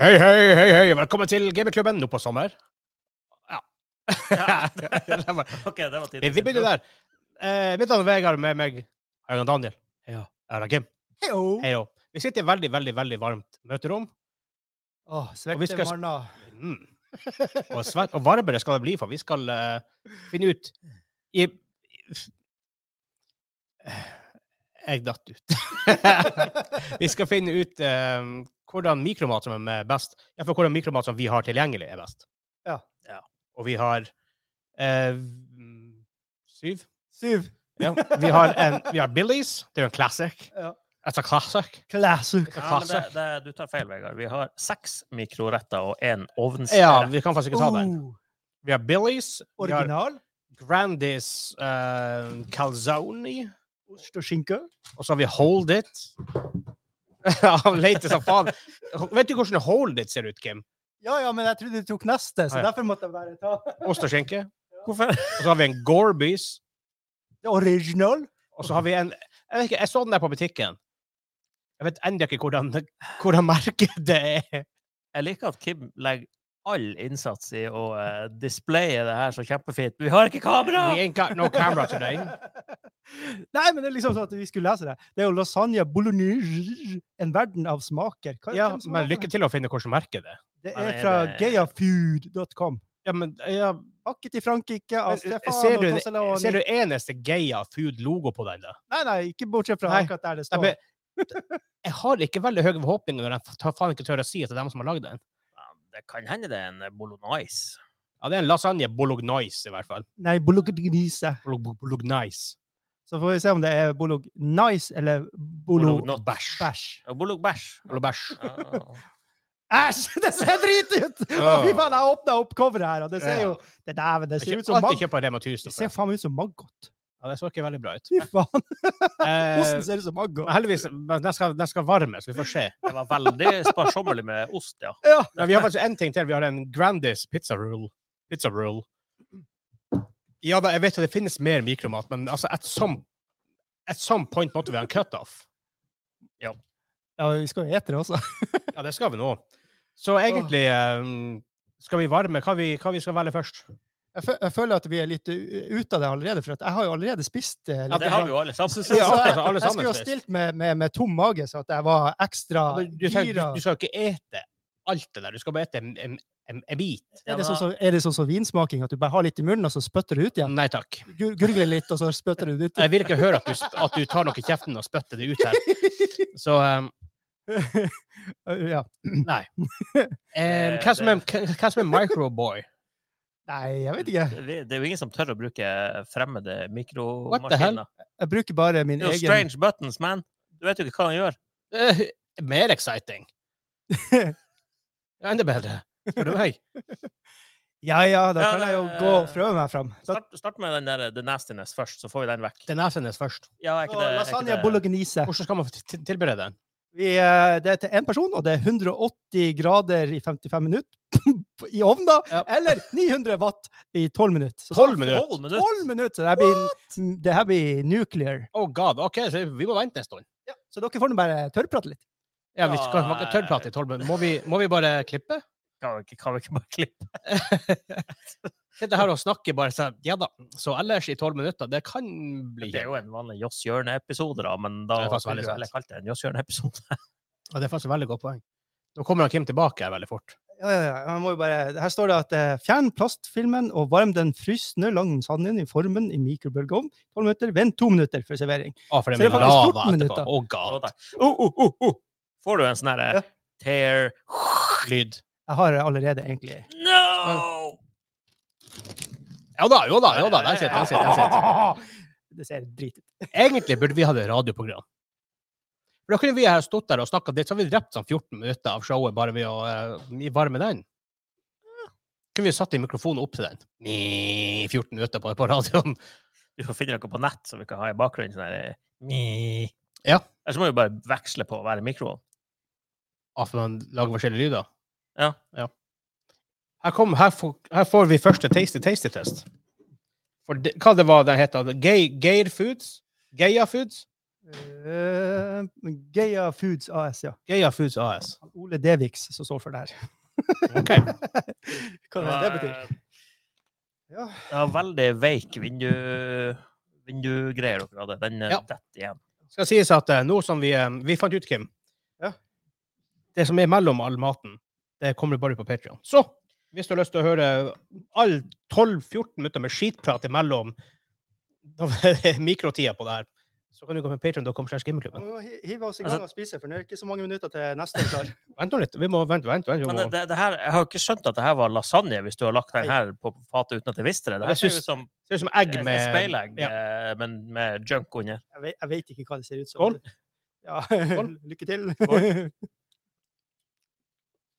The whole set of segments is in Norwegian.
Hei, hei, hei, hei, velkommen til gamingklubben nå på sommer. Ja. Det var- Ok, det var tidlig. Vi begynner der. Eh, mitt navn er Vegard, med meg er Jan Daniel. Ja. Jeg er Kim. Hei, jo. Vi sitter i veldig, veldig, veldig varmt møterom. Åh, Og vi svette skal sp- morgener. Mm. Og, svært, og varmere skal det bli, for vi skal eh, finne ut i Jeg datt ut. vi skal finne ut eh, hvordan mikromat som er best, ja, for hvordan mikromat som vi har tilgjengelig, er best. Ja. Og vi har eh, syv. Syv. Ja. Vi har, en, vi har Billies. Det er jo en classic. Ja. Altså classic. Classic. Ja, men det, det, du tar feil, Vegard. Vi har seks mikroretter og én Ja, ovnsrett. vi kan faktisk ikke ta den. Oh, Vi har Billies. Vi har original. Grandis eh, calzone. Ost og skinke. Og så har vi Hold It. Han leter som faen. Vet du hvordan Hold It ser ut, Kim? Ja, ja, men jeg trodde du tok neste, så Nei. derfor måtte jeg bare ta Ost og skinke. Hvorfor? Og så har vi en Gorbys. det original. Og så har vi en Jeg vet ikke, jeg så den der på butikken. Jeg vet ennå ikke hvordan, hvordan merket det er. Jeg liker at Kim legger all innsats i å eh, displaye det her så kjempefint. Vi har ikke kamera! We ain't got no camera today. Nei, men det er liksom sånn at vi skulle lese det. Det er jo lasagne bolognese. En verden av smaker. Hva- Ja, hvem som har men laget lykke til å finne hvordan merket det er. Det Men er er fra det- gayafood.com. Ja, men ja, Pakket i Frankrike av men, eh, Stefano ser, du, Tosselani. ser du eneste Gaia Food-logo på den? da? Nei, nei, ikke bortsett fra Nei. akkurat der det Jeg, står. be- jeg har ikke veldig høye forhåpninger når jeg fa- faen ikke tør å si at det er dem som har lagd den. Ja, Det kan hende det er en bolognese. Ja, det er en lasagne bolognese, i hvert fall. Nei, bolognese. Bolo- bo- Bolognese. Så får vi se om det er bolog nice eller bolog Bolognot. bæsj. Ja, Bologbæsj. Bolognese. Ja. Æsj! Det ser drit ut! Å, Fy faen, jeg åpna opp coveret her, og det ser jo Det dæven, det ser ut som Alltid maggot. sånn kjøper Rema 1000. Det ser faen ut som maggot. Ja, det så ikke veldig bra ut. Fy faen, Eh, osten ser ut som maggot. men heldigvis, men den skal, den skal varmes. Vi får se. Det var veldig sparsommelig med ost, ja. Ja. Men vi har faktisk en ting til. Vi har en Grandis pizza roll. Pizza roll. Ja, da, jeg vet at det finnes mer mikromat, men altså, at some, at some point måtte vi ha en cutoff. ja, vi skal jo ete det også. Ja, det skal vi nå. Så egentlig eh, skal vi varme hva vi, hva vi skal velge først. Jeg, fø- jeg føler at vi er litt u- ute av det allerede, for at jeg har jo allerede spist eh, Ja, litt. Det har vi jo alle sammen. Så, så, så, Ja, akkurat, jeg, alle jeg sammen skulle jo ha spist. stilt med, med, med tom mage, så at jeg var ekstra Du, du, trenger- gira. du, du skal ikke ete alt det der. Du skal bare ete en, en, en, en bit. Er det sånn som er det sånn som vinsmaking, at du bare har litt i munnen, og så spytter du ut igjen? Nei takk. Gur- Gurgler litt, og så spytter du det ut? Jeg vil ikke høre at du, sp- at du tar noe i kjeften og spytter det ut her. Så um, ja. nei. Um, Eh, hva, som er, hva hva som er microboy? Nei, jeg vet ikke. Vi- Det er jo ingen som tør å bruke fremmede the hell? mikromaskiner. Jeg bruker bare min Det er jo egen strange buttons, man. Du vet jo ikke hva han gjør. Eh, mer exciting. Enda bedre. Spør du meg? Ja ja, da Ja, kan jeg jo det- gå og prøve meg fram. Da, Start, start med den der eh, The Nastiness først, så får vi den vekk. Den er finnes først. Ja, er ikke det, er ikke lasagne det- bolognese. Hvordan skal man til- til- tilberede den? Vi, eh, det er til én person, og det er 180 grader i 55 minutter i ovnen. da, Ja. Eller 900 watt i 12 minutter. Så 12 minutter? Tolv minutter? 12 minutter! Så det her blir, det her blir nuclear. Oh god, ok, så vi må vente en stund. Så dere får nå bare tørrprate litt. Ja, vi skal man kan tørrprate i tolv minutter. Må vi, må vi bare klippe? Kan vi ikke, kan vi ikke bare klippe? Sitte her og snakke bare sånn, ja da. Så ellers i tolv minutter, det kan bli Det er jo en vanlig Joss Hjørne-episode, da, men da Det er faktisk vil veldig du sant. heller kalt det en Joss Hjørne-episode. Ja, det er faktisk et veldig godt poeng. Nå kommer han Kim tilbake her veldig fort. Ja, ja, ja. Man må jo bare, her står det at eh, fjern plastfilmen og varm den frysne lasagnen i formen i mikrobølgeovn. 12 minutter, vent to minutter for servering. Å, Ah, for det Så det blir er faktisk lava 14 etterpå. minutter. Å god. Oh, oh, oh, oh. Får du en sånn herre Ja. tear Lyd. Jeg har allerede egentlig No! Ja da, jo da, jo da. Der sitter, der sitter, der sitter. Det ser drit ut. Egentlig burde vi hatt et radioprogram. For da kunne vi ha stått der og snakka dritt, så hadde vi drept sånn 14 minutter av showet bare ved å eh, i- bare med den. Kunne vi satt i mikrofonen opp til den? Ni, 14 minutter på, på radioen. Du får finne noe på nett som vi kan ha i bakgrunnen. sånn her, mi. Ja. Ellers må vi bare veksle på å være i mikroen. Ah, for man lager forskjellige lyder. Ja. Her, kom, her, får, her får vi første tasty tasty test. For det, hva det var den het? Geir Foods? Geia Foods? Eh, Gaia Foods AS, ja. Gaia Foods AS. Ole Deviks som står for det her. Ok. Hva det, det betyr? Ja. Det var veldig veik vindu, vindugreier dere hadde. Den eh, Ja. detter igjen. Skal sies at eh, nå som vi, eh, vi fant ut, Kim Ja. Det som er mellom all maten, det kommer bare på Patreon. Så hvis du har lyst til å høre alle 12-14 minutter med skitprat imellom mikrotida på det her, så kan du gå på patreon.com. slash Vi Gamerklubben. må hi- hive oss i Altså- gang og spise, for det er ikke så mange minutter til neste år. Vent nå litt. Vi må vente, vente. vente. Vi Men må, det, det, det her, jeg har jo ikke skjønt at det her var lasagne, hvis du har lagt den her på fatet uten at jeg visste det. Jeg Det her ser synes- ut som det ser ut som et egg et med speilegg, Ja. eh, men med junk under. Jeg vet, jeg vet ikke hva det ser ut som. Skål. Ja, Skål. lykke til. Skål.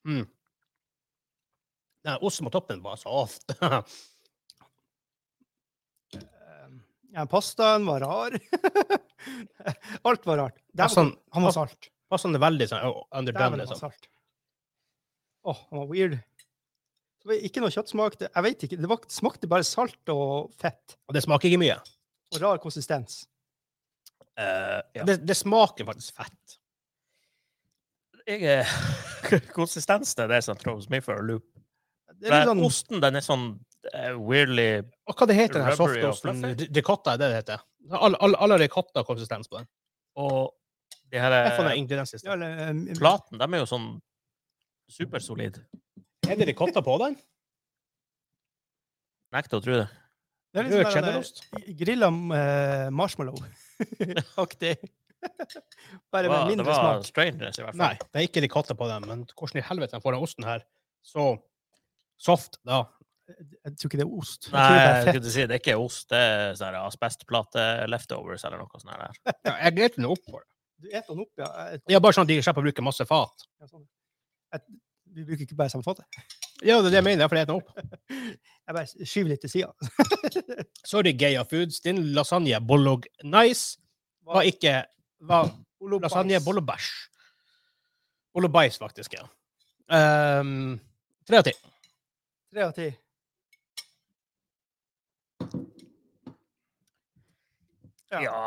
mm. Nei, osten på toppen var så oft. ja, Eh, Ja, pastaen var rar. Alt var rart. Dæven, sånn, han var salt. passende veldig sånn oh, underdone, Dæven, altså. han liksom. var salt. Åh, han var weird. Det var ikke noe kjøttsmak. det- Jeg vet ikke. Det var, smakte bare salt og fett. Og det smaker ikke mye. Og rar konsistens. Eh, ja. Det, det smaker faktisk fett. Jeg, eh, konsistens det er det som throws me for a loop. Det er litt Men sånn Osten den er sånn eh, weirdly Og hva det heter den her Rubbery og softosten? fluffy. Ri- Ricotta, er det det heter? Alle all, all ricotta-konsistens på den. Og de her Jeg får eh, den ingrediensen. ja, eller, um, platen, de er jo sånn supersolid. Er det ricotta på den? Nekter å tro det. det er litt Rød sånn der, cheddarost? eh, Grilla eh, Det marshmallow-aktig. var, Bare med det mindre var smak. strangeness, i hvert fall. Nei, det er ikke ricotta på den. Men hvordan i helvete får den osten her så soft, da? Jeg tror ikke det er ost. Jeg Nei, tror det er jeg fett. skulle si, det er ikke ost. Det er sånn her asbestplate-leftovers eller noe sånt. her. Ja, jeg gleder meg opp for det. Du eter den opp, ja. Jeg- Ja, bare sånn at de slipper å bruke masse fat. Ja, sånn. Jeg, vi bruker ikke bare samme fatet. Ja, det er det jeg mener. Derfor jeg spiser den opp. Jeg bare skyver litt til sida. Sorry, Gaia Foods. Din lasagne bollog nice var ikke var lasagne bollobæsj. Bollobæsj, faktisk, ja. Ehm, Tre av ti. Tre av ti. Ja. Ja.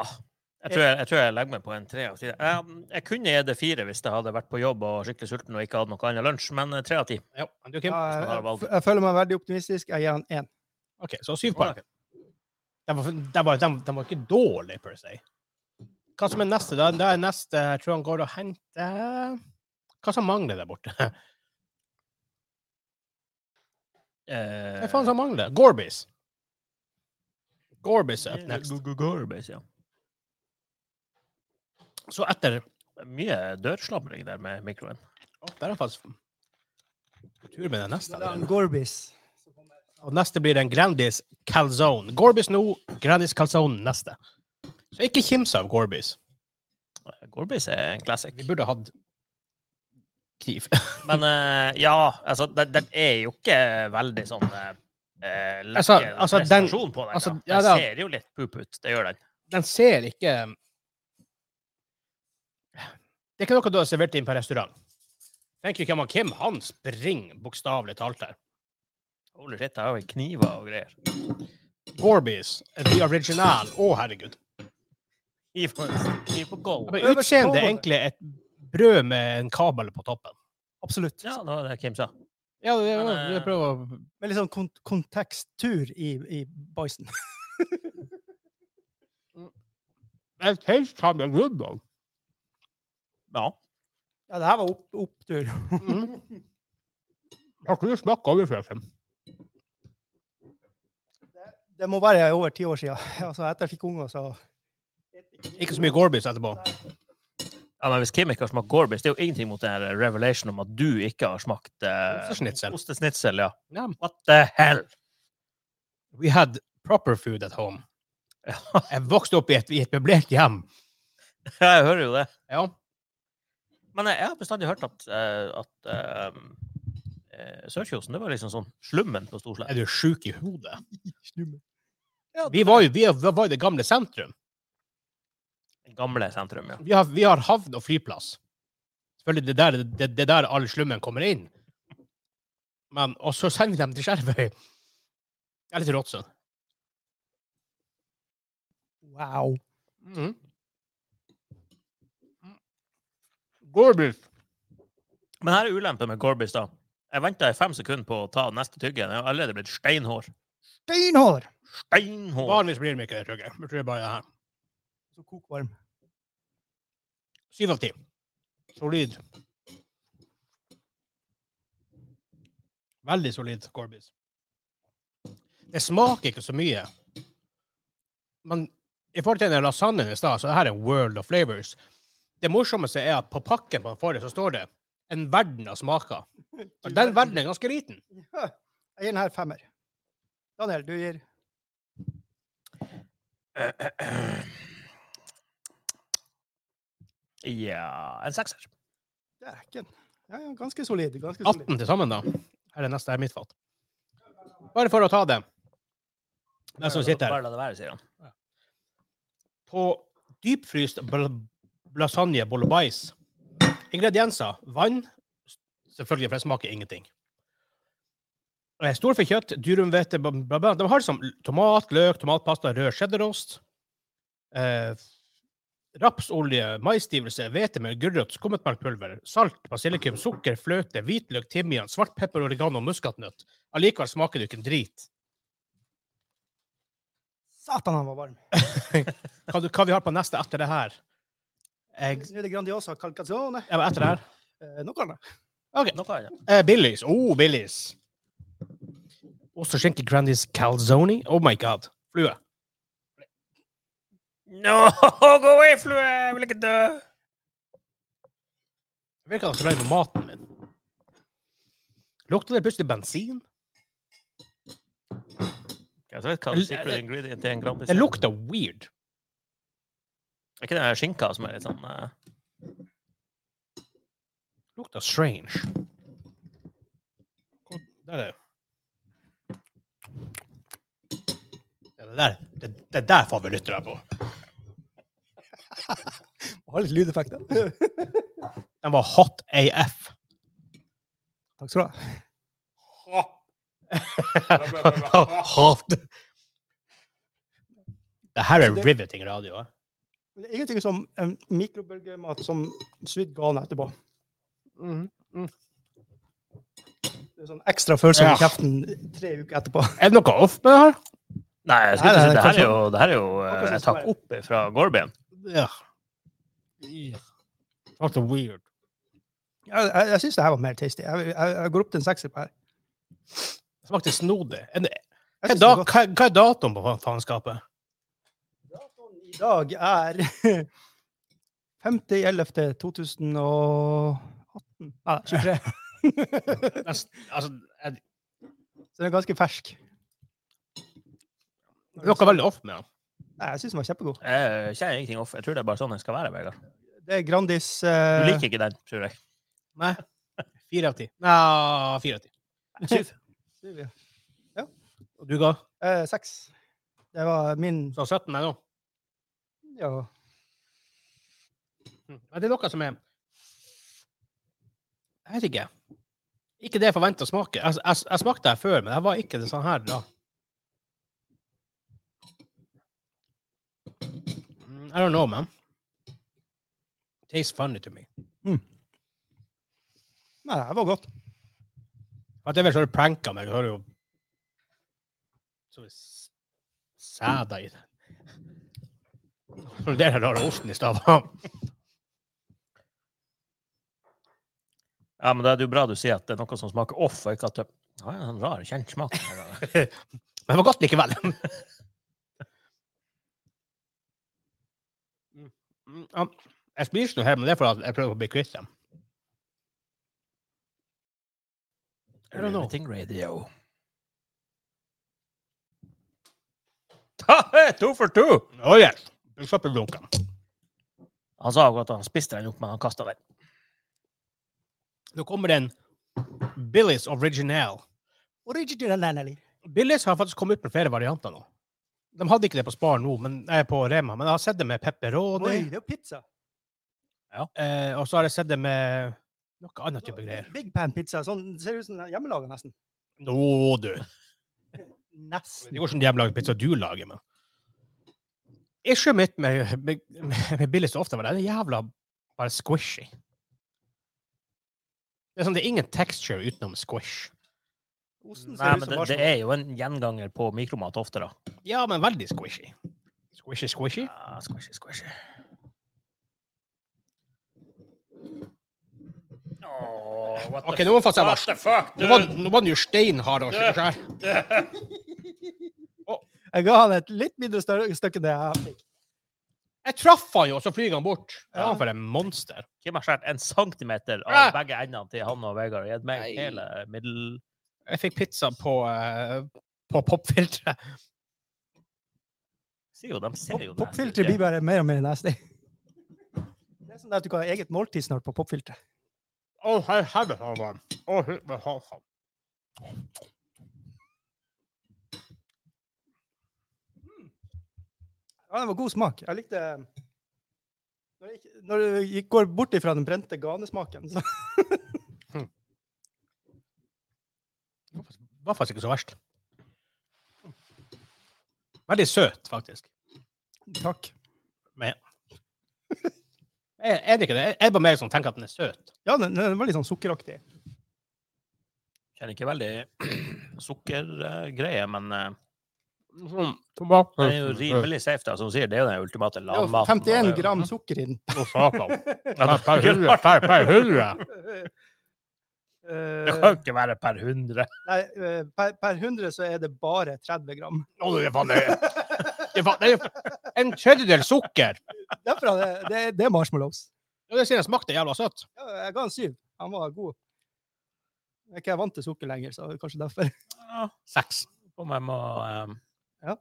Jeg tror jeg, jeg tror jeg legger meg på en tre av ti. Jeg, jeg kunne gitt det fire hvis jeg hadde vært på jobb og skikkelig sulten og ikke hadde noe annet lunsj, men eh, tre av ti. Ja, men du, Ja, Kim? man har jeg, valg. jeg, jeg føler meg veldig optimistisk. Jeg gir han én. OK, så syv poeng. Den var, den var, den, den var ikke dårlig, per se. Hva som er neste? Da, da er neste Jeg tror han går og henter Hva som mangler der borte? Hva Eh, faen som mangler? Gorbis. Gorbis er up next. Go- go- Gorbis, ja. Så etter Mye dørslabring der med mikroen. Å, Der er faktisk på tur med den neste. allerede. Gorbis. Og neste blir en Grandis calzone. Gorbis nå, Grandis calzone neste. Så ikke kims av Gorbis. Gorbis er en classic. Vi burde hatt kniv. Men eh, ja, altså, den, den er jo ikke veldig sånn uh, lekker Altså- altså, den- presentasjon på den. altså, da. ja, den da. ser jo litt pup ut, det gjør den. den ser ikke Det er ikke noe du har servert inn på restaurant. Tenk ikke om Kim, han springer bokstavelig talt her. Holy shit, jeg har jo kniver og greier. Gorbies, the original. Å, herregud. Kniv på, kniv Ja, på golv. men Utseende er egentlig et brød med en kabel på toppen. Absolutt. Ja, det var det Kim sa. Ja, det, Men, eh, jeg prøver å Med litt sånn kon kontekstur i, i bæsjen. Jeg helst har med rubel. Ja. Ja, det her var opp, opptur. Har ikke du smakt overfløten? Det må være over ti år siden. Altså, etter jeg fikk unger, så Ikke så mye Gorbies etterpå. Ja, men Hvis Kim ikke har smakt Gorbis, det er jo ingenting mot den her revelation om at du ikke har smakt eh, Ostesnitzel. ostesnitzel. Ja. Ja. What the hell? We had proper food at home. Ja, Jeg vokste opp i et, i et møblert hjem. jeg hører jo det. Ja. Men jeg jeg har bestandig hørt at, eh, at eh, eh, Sørkjosen det var liksom sånn slummen på Storslett. Er du sjuk i hodet? Ja, Vi var jo vi var i det gamle sentrum. Gamle sentrum, ja. Vi har, vi har havn og flyplass. Selvfølgelig det der, det, det der all slummen kommer inn. Men, og så sender vi dem til Skjervøy. Eller til Råtsund. Wow. Mm. Gorbiff. Men her er ulempen med Gorbis, da. Jeg venta i fem sekunder på å ta neste tyggen. Jeg har allerede blitt steinhår. Steinhard! Steinhår! Vanligvis blir de ikke det, tror jeg. Jeg tror det bare er her. Så kokvarm. Syv av ti. Solid. Veldig solid Gorbis. Det smaker ikke så mye. Men i forhold til den lasagnen i stad, så er det her en world of flavors. Det morsommeste er at på pakken man får det, så står det en verden av smaker. Og den verden er ganske liten. Ja. Jeg gir den her femmer. Daniel, du gir Ja En sekser. Det er ikke en ja, ja, ganske solid. Ganske solid. 18 til sammen, da. Her er neste er mitt fat. Bare for å ta det. Den som sitter her. Bare la det være, sier han. på dypfryst bl- lasagne bolognese. Ingredienser vann, selvfølgelig, for det smaker ingenting. Eh, Storfe kjøtt, durumhvete bla, bla, bla. De har liksom tomat, løk, tomatpasta, rød cheddarost. Eh, rapsolje, maisstivelse, hvete med gulrot, skummetmelkpulver, salt, basilikum, sukker, fløte, hvitløk, timian, svart pepper, oregano og muskatnøtt. Allikevel smaker det jo ikke en drit. Satan, han var varm. Hva, du- hva vi har på neste etter det her? Jeg, Nå er det Grandiosa Calcazzone. ja, men etter det her? Eh, noe annet. Noe annet. Eh, Billies. Oh, Billies. Ost og skinke Grandis calzone. Oh my god. Flue. No, go away, flue! Jeg vil ikke dø! Jeg virker så lei med maten min. Lukter det plutselig bensin? Jeg vet hva L- det secret ingredient til en Grand Prix Det er. lukter weird. Er ikke den her skinka som er litt sånn eh, Lukter strange. Hvor- Der er det. Ja, Det der, det, det der får vi lyttere på. Har litt lydeffekter. Den var hot AF. Takk skal du ha. hot. Det her er riveting radio. eh. Det er ingenting som um, mikrobølgemat som svidd galen etterpå. Mm-hmm. Det er sånn ekstra følelse i Ja. kjeften tre uker etterpå. Er det noe off med det her? Nei, jeg skulle ikke Nei, nei, si det her kanskje- er jo, det her er jo eh, Akkurat sånn jeg som tar det opp fra Gorbien. Ja. That's weird. Jeg, jeg, jeg syns det her var mer tasty. Jeg, jeg, jeg går opp til en sekser på her. Det smakte snodig. Er det- Jeg Hva er, synes det da, var godt. hva, hva er datoen på fa- faenskapet? Datoen i dag er 50.11.2018. Nei, 23. Nest- Altså, er det Så den er ganske fersk. det er noe veldig off med den. Nei, jeg syns den var kjempegod. Jeg kjenner ingenting off. Jeg tror det er bare sånn den skal være, Vegard. Det er Grandis Du eh, liker ikke den, tror jeg. Nei. Fire av ti. Nei, fire av ti. Syv. syv, ja. Og du ga? Eh, seks. Det var min Du sa 17, jeg nå. Ja. Men Mm. det er noe som er Jeg vet ikke. Ikke det jeg forventa å smake. Jeg, jeg, jeg smakte det her før, men det var ikke det sånn her da. Mm, I don't know, man. Tastes funny to me. Nei, det var godt. At jeg vel så har du pranka meg, så har du jo Så er det s- sæda i det. Det er den rare osten i stad. Ja, men det er jo bra du sier at det er noe som smaker off, og ikke at det ja, ja, en rar, kjent smak. Men det var godt likevel. Mm, ja. Jeg spiser ikke noe her, men det er for at jeg prøver å bli kvitt dem. I don't know. Riveting radio. Ta- to for to! Oh yes! Du slapp i dunken. Han sa jo at han spiste den opp, men han kasta den. Nå kommer det en Billies Original. Originally. Billies har faktisk kommet ut med flere varianter nå. De hadde ikke det på Spar nå, men, nei, på Rema, men jeg har sett det med pepperoni. Oi, det er jo pizza. Eh, og så har jeg sett det med noe annet type greier. Big pan pizza. Sånn, ser ut som hjemmelaga, nesten. Nå, du. Det Nesten. går som de lager pizza du lager, men Issue mitt med, med, med Billies ofte var det er jævla bare squishy. Det er, sånn, det er ingen texture utenom squish. Osten Nei, ser ut men som det, det marsvin. er jo en gjenganger på mikromat ofte, da. Ja, men veldig squishy. Squishy, squishy. Ja, Ah, squishy, squishy. Åh, what the OK, nå må man faktisk What the fuck, Nå var, nå var den jo steinhard og slik her. Jeg ga han et litt mindre større stykke enn det jeg fikk. Jeg traff han jo, og så flyr han bort. Ja. Ja. For et monster. Kim har skåret en centimeter Ah! av begge endene til han og Vegard og gitt meg Nei. hele middel... Jeg fikk pizza på, eh, på popfilteret. Sier jo, de ser jo nesten Pop- Popfilteret ikke. blir bare mer og mer nasty. Det er sånn at du kan ha eget måltid snart på popfilteret. Å, her- her vil han være. Å, her vil han være. Ja, det var god smak. Jeg likte Når, jeg, gikk- når du gikk- går bort ifra den brente ganesmaken, så Det var faktisk- var faktisk ikke så verst. Veldig søt, faktisk. Takk. Er, er det ikke det? Jeg er bare mer som tenker at den er søt. Ja, den, den var litt sånn sukkeraktig. Kjenner ikke veldig sukkergreie, men eh, Mm. Sånn, tomat. det er jo rimelig safe, da, som hun sier. Det er jo den ultimate Det var lavmaten. 51 gram sukker i den. Å, satan. Ja, Per- Per hundre, per, per hundre. Det Eh, kan ikke være per 100. nei, eh, per, per 100 så er det bare 30 gram. Å, det er faen det. er- Det er faen- det er en tredjedel sukker. Derfor er det, det, det er marshmallows. Ja, det sier jeg smakte jævla søtt. Ja, jeg ga han syv. Han var god. Jeg er ikke vant til sukker lenger, så kanskje derfor. Ja, Seks. om jeg må eh, Ja.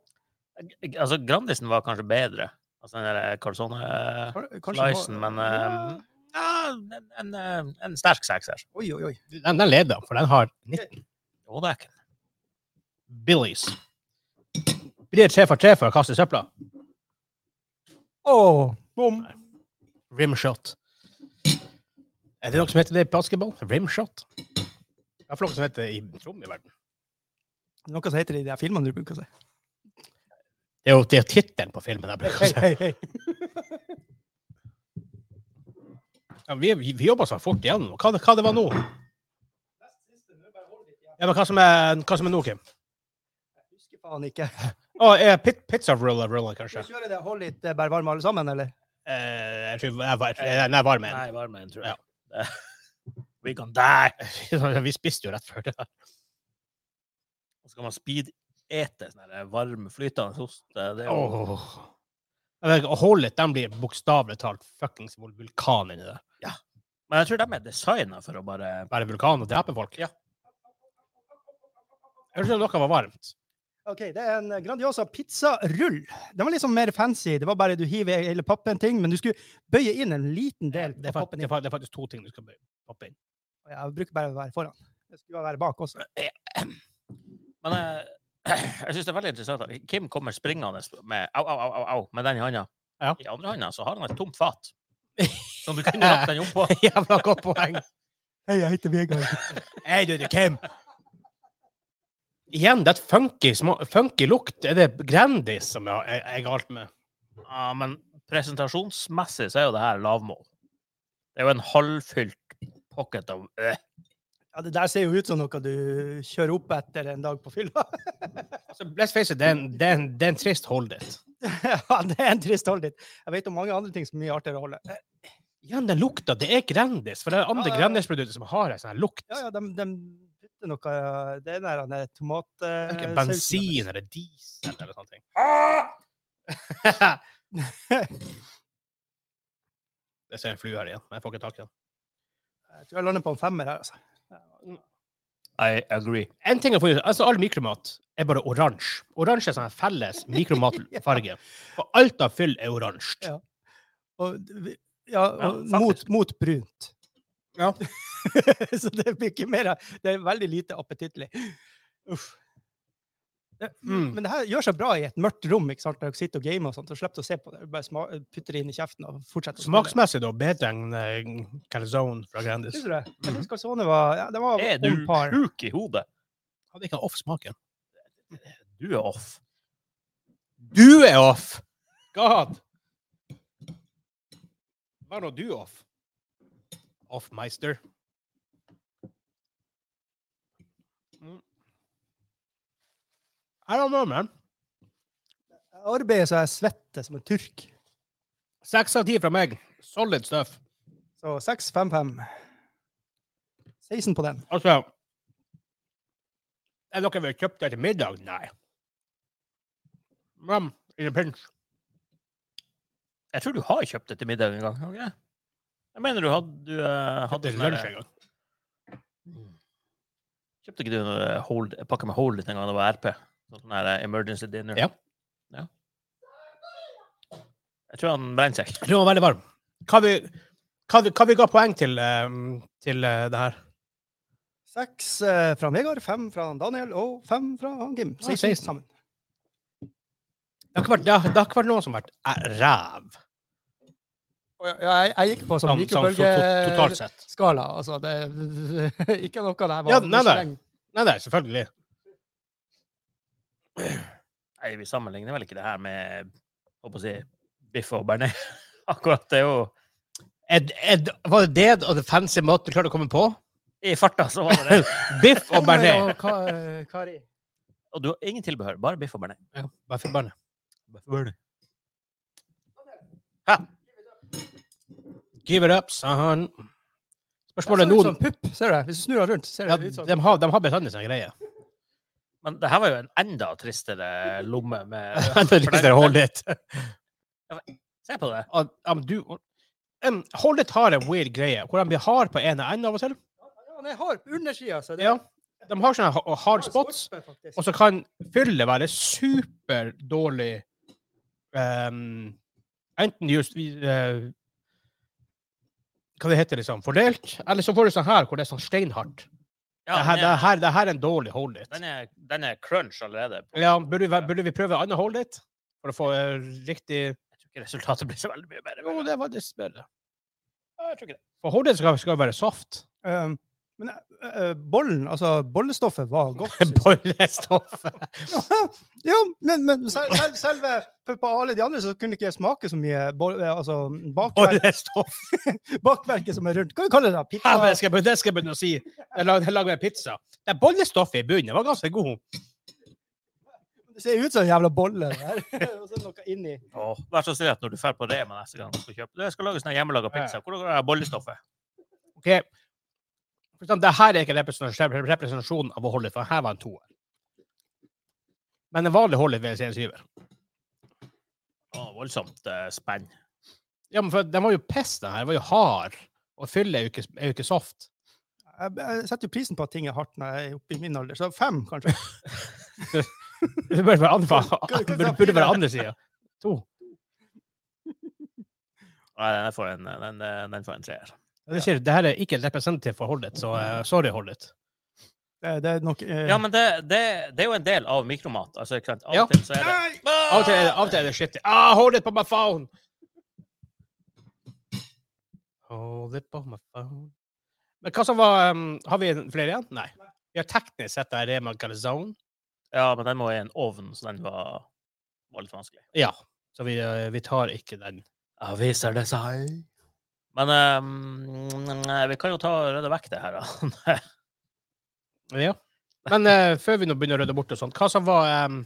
jeg- Altså, Grandisen var kanskje bedre. Altså den der eh, calzone-slicen, Kan- kanskje må- men eh, ja, en, en, eh, en sterk sekser. Oi, oi, oi. Den, den leder, for den har 19 Jo, det er ikke billies. Blir det tre for tre for å kaste i søpla? Åh, bom. Rimshot. Er det noe som heter det i basketball? Rimshot? Det er noe som heter det i Trond i verden. Noe som heter det i de her filmene du bruker å si. Det er jo det er tittelen på filmen. Jeg bruker å Hei, si. hei, hei. Ja, vi vi, vi jobba så fort igjennom. Hva, hva det var nå? Ja, men hva som er, hva som er nå, Kim? Jeg husker faen ikke. Å, eh, pit, pizza roller, roller, Skal kanskje. vi kjøre det hold litt eh, bare varm alle sammen, eller? Eh, jeg tror jeg, var- jeg, jeg var med. Nei, varmen, tror jeg. We can die! Vi spiste jo rett før det. Og så kan man speed-ete sånn der varm, flytende ost. Det er jo Åh. Jeg vet ikke, Hullet den blir bokstavelig talt fuckings vul- vulkan inni der. Men jeg tror de er designa for å bare Bare vulkan og dreper folk. Ja. Jeg tror noe var varmt. Ok, det er en Grandiosa pizzarull. Den var liksom mer fancy. Det var bare du hiver hele pappen ting, men du skulle bøye inn en liten Det, del det, er, av fa- pappen det, er, inn. fa- det er faktisk to ting du skal bøye- poppe inn. Jeg bruker bare å være foran. Jeg skulle være bak også. Men jeg, jeg syns det er veldig interessant at Kim kommer springende med au, au, au, au, au med den i hånda. Ja. I andre hånda så har han et tomt fat. Som du kunne lagt den oppå. Jævla godt poeng! Hei, jeg heter Vegard. Hei, du, du, Kim! Igjen, det er et funky, sma- funky lukt. Er det Grandis som jeg jeg- jeg er galt med? Ja, men presentasjonsmessig så er jo det her lavmål. Det er jo en halvfylt pocket av øh. Ja, det der ser jo ut som noe du kjører opp etter en dag på fylla. Altså, let's face it, det er en, det er en, det er en trist holdet. ja, det er en trist hold dit. Jeg vet om mange andre ting som er mye artigere å holde. Igjen, den lukta. Det er Grandis. For det er andre Ja, ja, ja. Grandis-produkter som har en sånn her lukt. Ja, ja, de, de putter noe Det er den der han er tomat... eh, Det er ikke sausen. bensin eller diesel eller sånne ting. Ah! Jeg ser en flue her igjen, men jeg får ikke tak i den. Jeg tror jeg lander på en femmer her, altså. I agree. En ting jeg får, altså All mikromat er bare oransje. Oransje er sånn en felles mikromatfarge. Og alt av fyll er oransje. Ja. Og, vi- ja, Ja, og faktisk. mot, mot brunt. Ja. Så det blir ikke mer Det er veldig lite appetittlig. Uff. Det, Mm. Men det her gjør seg bra i et mørkt rom, ikke sant? når dere sitter og gamer og sånt, og slipper å se på det. Bare sma putter det inn i kjeften og fortsetter. å spille. Smaksmessig da, bedre enn eh, calzone fra Grandis. Syns du det? Jeg syns calzone var ja, Det var Er du on par. sjuk i hodet? Hadde ikke off smaken. Du er off. Du er off! God! Hva er nå du off? Off-meister. Mm. I don't know, man. Jeg arbeider så jeg svetter som en turk. Seks av ti fra meg. Solid stuff. Så 6-5-5. 16 på den. Altså Er dere vil kjøpt det til middag? Nei. Men in a pinch. Jeg tror du har kjøpt det til middag en gang. har du ikke det? Jeg mener du hadde, du, eh, hadde Hadde sånn lunsj her- en gang. Kjøpte ikke du en eh, hold, en pakke med hold en gang det var RP? Sånn her eh, emergency dinner? Ja. Ja. Jeg tror han brente seg. Jeg tror den var veldig varm. Hva vi, hva vi, hva vi ga poeng til, eh, til eh, det her? 6 eh, fra Vegard, 5 fra Daniel og 5 fra han Kim. 16, 16. sammen. Det har ikke vært, det har, det har ikke vært noen som har vært eh, ræv, jeg, gikk på sånn, sånn, så, to- totalt sett. skala. Altså, det, ikke noe der var Ja, nei, nei. streng. Nei, nei, selvfølgelig. Nei, vi sammenligner vel ikke det her med håper å si, biff og bearnés. Akkurat det er jo Ed, ed, var det det og det fancy måten du klarte å komme på? I farta så var det det. Biff og bearnés. Kari. Og du har ingen tilbehør, bare biff og bearnés. Ja, bare for barnet. Hæ? Give it up, son. Ser Spørsmålet er ut noen som pupp, ser du? Hvis du snur den rundt, ser ja, det ut som de, har, de har bestandig sånne greier. Men det her var jo en enda tristere lomme med Det er litt hold it. Se på det. At- ja, men du- Em, Hold it har en weird greie hvor de blir hard på ene enden av og til. Ja, den er hard på undersida. så det- Ja. De har sånne ha- hard spots, Skorpe, faktisk. og så kan fyllet være superdårlig em, ehm, Enten just eh, Hva det heter liksom, fordelt, eller så får du sånn her hvor det er sånn steinhardt. Ja, det, her, det, den, er, her, det her er en dårlig hold it. den, er, den er crunch allerede. Ja, burde, vi, væ- burde vi prøve annet hold litt? For å få eh, riktig Jeg tror ikke resultatet blir så veldig mye bedre. Jo, det var det bedre. Ja, Jeg tror ikke det. For hold it skal, skal være soft. Um, men eh, eh, bollen, altså bollestoffet, var godt. synes jeg. Bollestoffet. ja, men, men sel, sel, selve på- på alle de andre så kunne ikke jeg smake så mye boll, eh, altså, bakverk, Bollestoff. bakverket som er rundt. Hva kaller vi det? da? Ja, men Pizza? jeg skal, begynne- det skal jeg begynne å si. Jeg lag- jeg lager en pizza. Det bollestoffet i bunnen var ganske god. Det ser ut som en jævla bolle. det her. Og så er det noe inni. Åh, vær så snill at når du drar på Rema neste gang du skal kjøpe Du, Jeg skal lage sånn her hjemmelaga pizza. Hvor er bollestoffet? Ok. For eksempel, Det her er ikke representasjon- representasjonen av å holde it, for her var en toer. Men en vanlig hold it vil jeg si en syver. Å, voldsomt eh, spenn. Ja, men for den var jo piss, den her. Den var jo hard. Og fyllet er jo ikke, er jo ikke soft. Jeg, jeg setter jo prisen på at ting er hardt når jeg er oppe i min alder, så fem, kanskje. Det burde være andre, kan- kan- burde- burde være andre sida. To. Nei, den får en, den, eh, den får en treer. Ja, Det, sier, det her er ikke representativt for Holdet, så eh, sorry, Holdet. Det, det er nok eh, Ja, men det, det, det er jo en del av mikromat. Altså, ikke sant? Av Ja. og til så er det Nei! Av og til er det, av og til er det shit. Ah, hold it på my phone! Hold it på my phone. Men hva som var um, Har vi flere igjen? Nei. Vi har teknisk sett det her Rema Galzone. Ja, men den må i en ovn, så den var, var litt vanskelig. Ja. Så vi, eh, vi tar ikke den. Ja, viser det seg. Men eh, vi kan jo ta rydde vekk det her, da. Ja. Men eh, før vi nå begynner å rydde bort og sånt, hva som var um,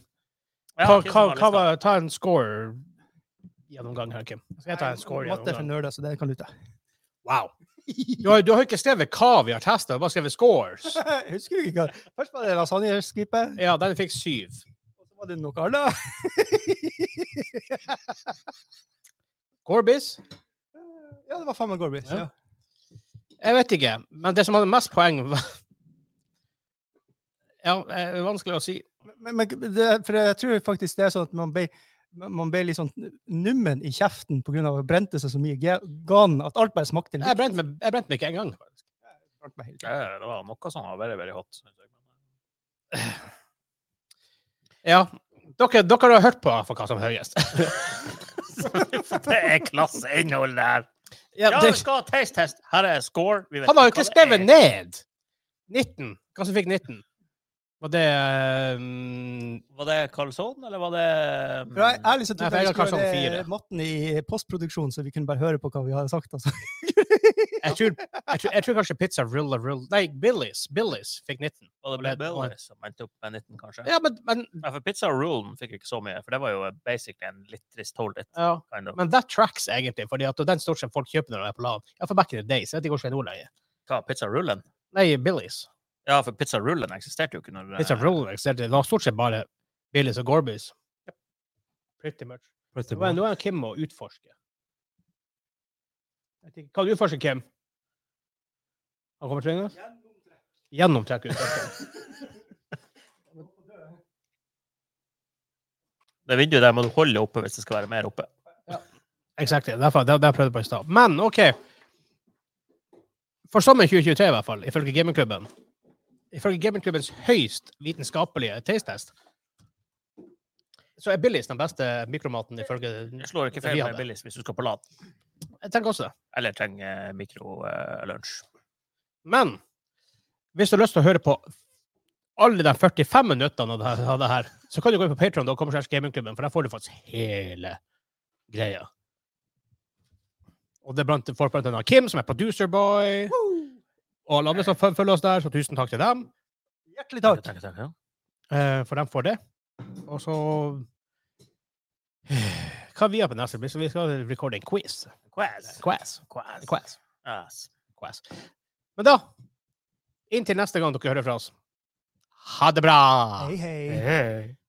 Ja, hva, Kim hva, som har hva lista. var Ta en score gjennomgang her, Kim. Skal jeg ta en score Matte er for gjennomgang? nerder, så det kan du ta. Wow. Du har, du har ikke skrevet hva vi har testa, du har bare skrevet scores. Jeg husker ikke hva. Først var det lasagneskipe, Ja, den fikk syv. og så var det noe annet. Gorbis? Ja, det var faen meg Gorbis. Ja. Ja. Jeg vet ikke, men det som hadde mest poeng, var Ja, eh, vanskelig å si. Men, men det, for jeg tror faktisk det er sånn at man ble, man ble litt sånn nummen i kjeften pga. at det brente seg så mye ge- gan at alt bare smakte Jeg litt. brente meg, jeg brente meg ikke engang. rart med hele tiden. Ja, det var noe som var veldig, veldig hot. synes jeg. Ja. Dere, dere har hørt på for hva som er høyest. Det er klasseinnhold, det her. Ja, Ja, det, vi skal ha taste-test. Her er score. Vi vet han har jo hva ikke det skrevet er. ned! 19. Hva som fikk 19? Var det mm, Var det calzone, eller var det mm, For jeg, ærlig så Nei, trodde for jeg har jeg vi skulle kanskje gjøre fire. det matten i postproduksjon, så vi kunne bare høre på hva vi hadde sagt. Altså. jeg, tror, jeg, tror, jeg tror kanskje pizza Rilla Rilla Nei, Billies. Billies fikk 19. Var det Ble- Black Belly som endte opp med 19, kanskje? Ja, men, men, Nei, for Pizza Rule fikk ikke så mye, for det var jo basically en litt trist hold it. ja. Kind of. men that tracks egentlig, fordi at den stort sett folk kjøper når de er på lav. Ja, for back in the days. Jeg vet ikke hvordan ord det er. Hva, Pizza Rullen? Nei, Billies. Ja, for Pizza Rullen eksisterte jo ikke når eh, Pizza Rilla eksisterte. Det var stort sett bare Billies og Gorbys. Pretty much. Nå er- nå er Kim å utforske. Jeg tenker, Hva du utforsker Kim? Han kommer til å ringe oss? Gjennomtrekk utforsker. Det vinduet der må du holde oppe hvis det skal være mer oppe. Exactly. Derfor, det, det prøvde jeg på i stad. Men OK. For sommeren 2023, i hvert fall, ifølge gamingklubben Ifølge gamingklubbens høyst vitenskapelige taste-test, så er Billies den beste mikromaten ifølge Jeg slår ikke Det vi feil med hadde. Billis hvis du skal på LAN, Jeg tenker også det. eller trenger eh, mikrolunsj. Men hvis du har lyst til å høre på alle de 45 minuttene av det her- av det her, så kan du gå inn på Patreon og komme til Gamingklubben, for der får du faktisk hele greia. Og det er blant folk blant annet Kim, som er producerboy, og alle andre som føl- følger oss der, så tusen takk til dem, Hjertelig takk. Takk, takk, ja. eh, for de får det. Og så eh, Hva vi har på neste? Så vi skal recorde en quiz. Quaz. Quiz. Quaz. Quiz. Quaz. Quest. Men da, inntil neste gang dere hører fra oss, ha det bra! Hei, hei. Hey.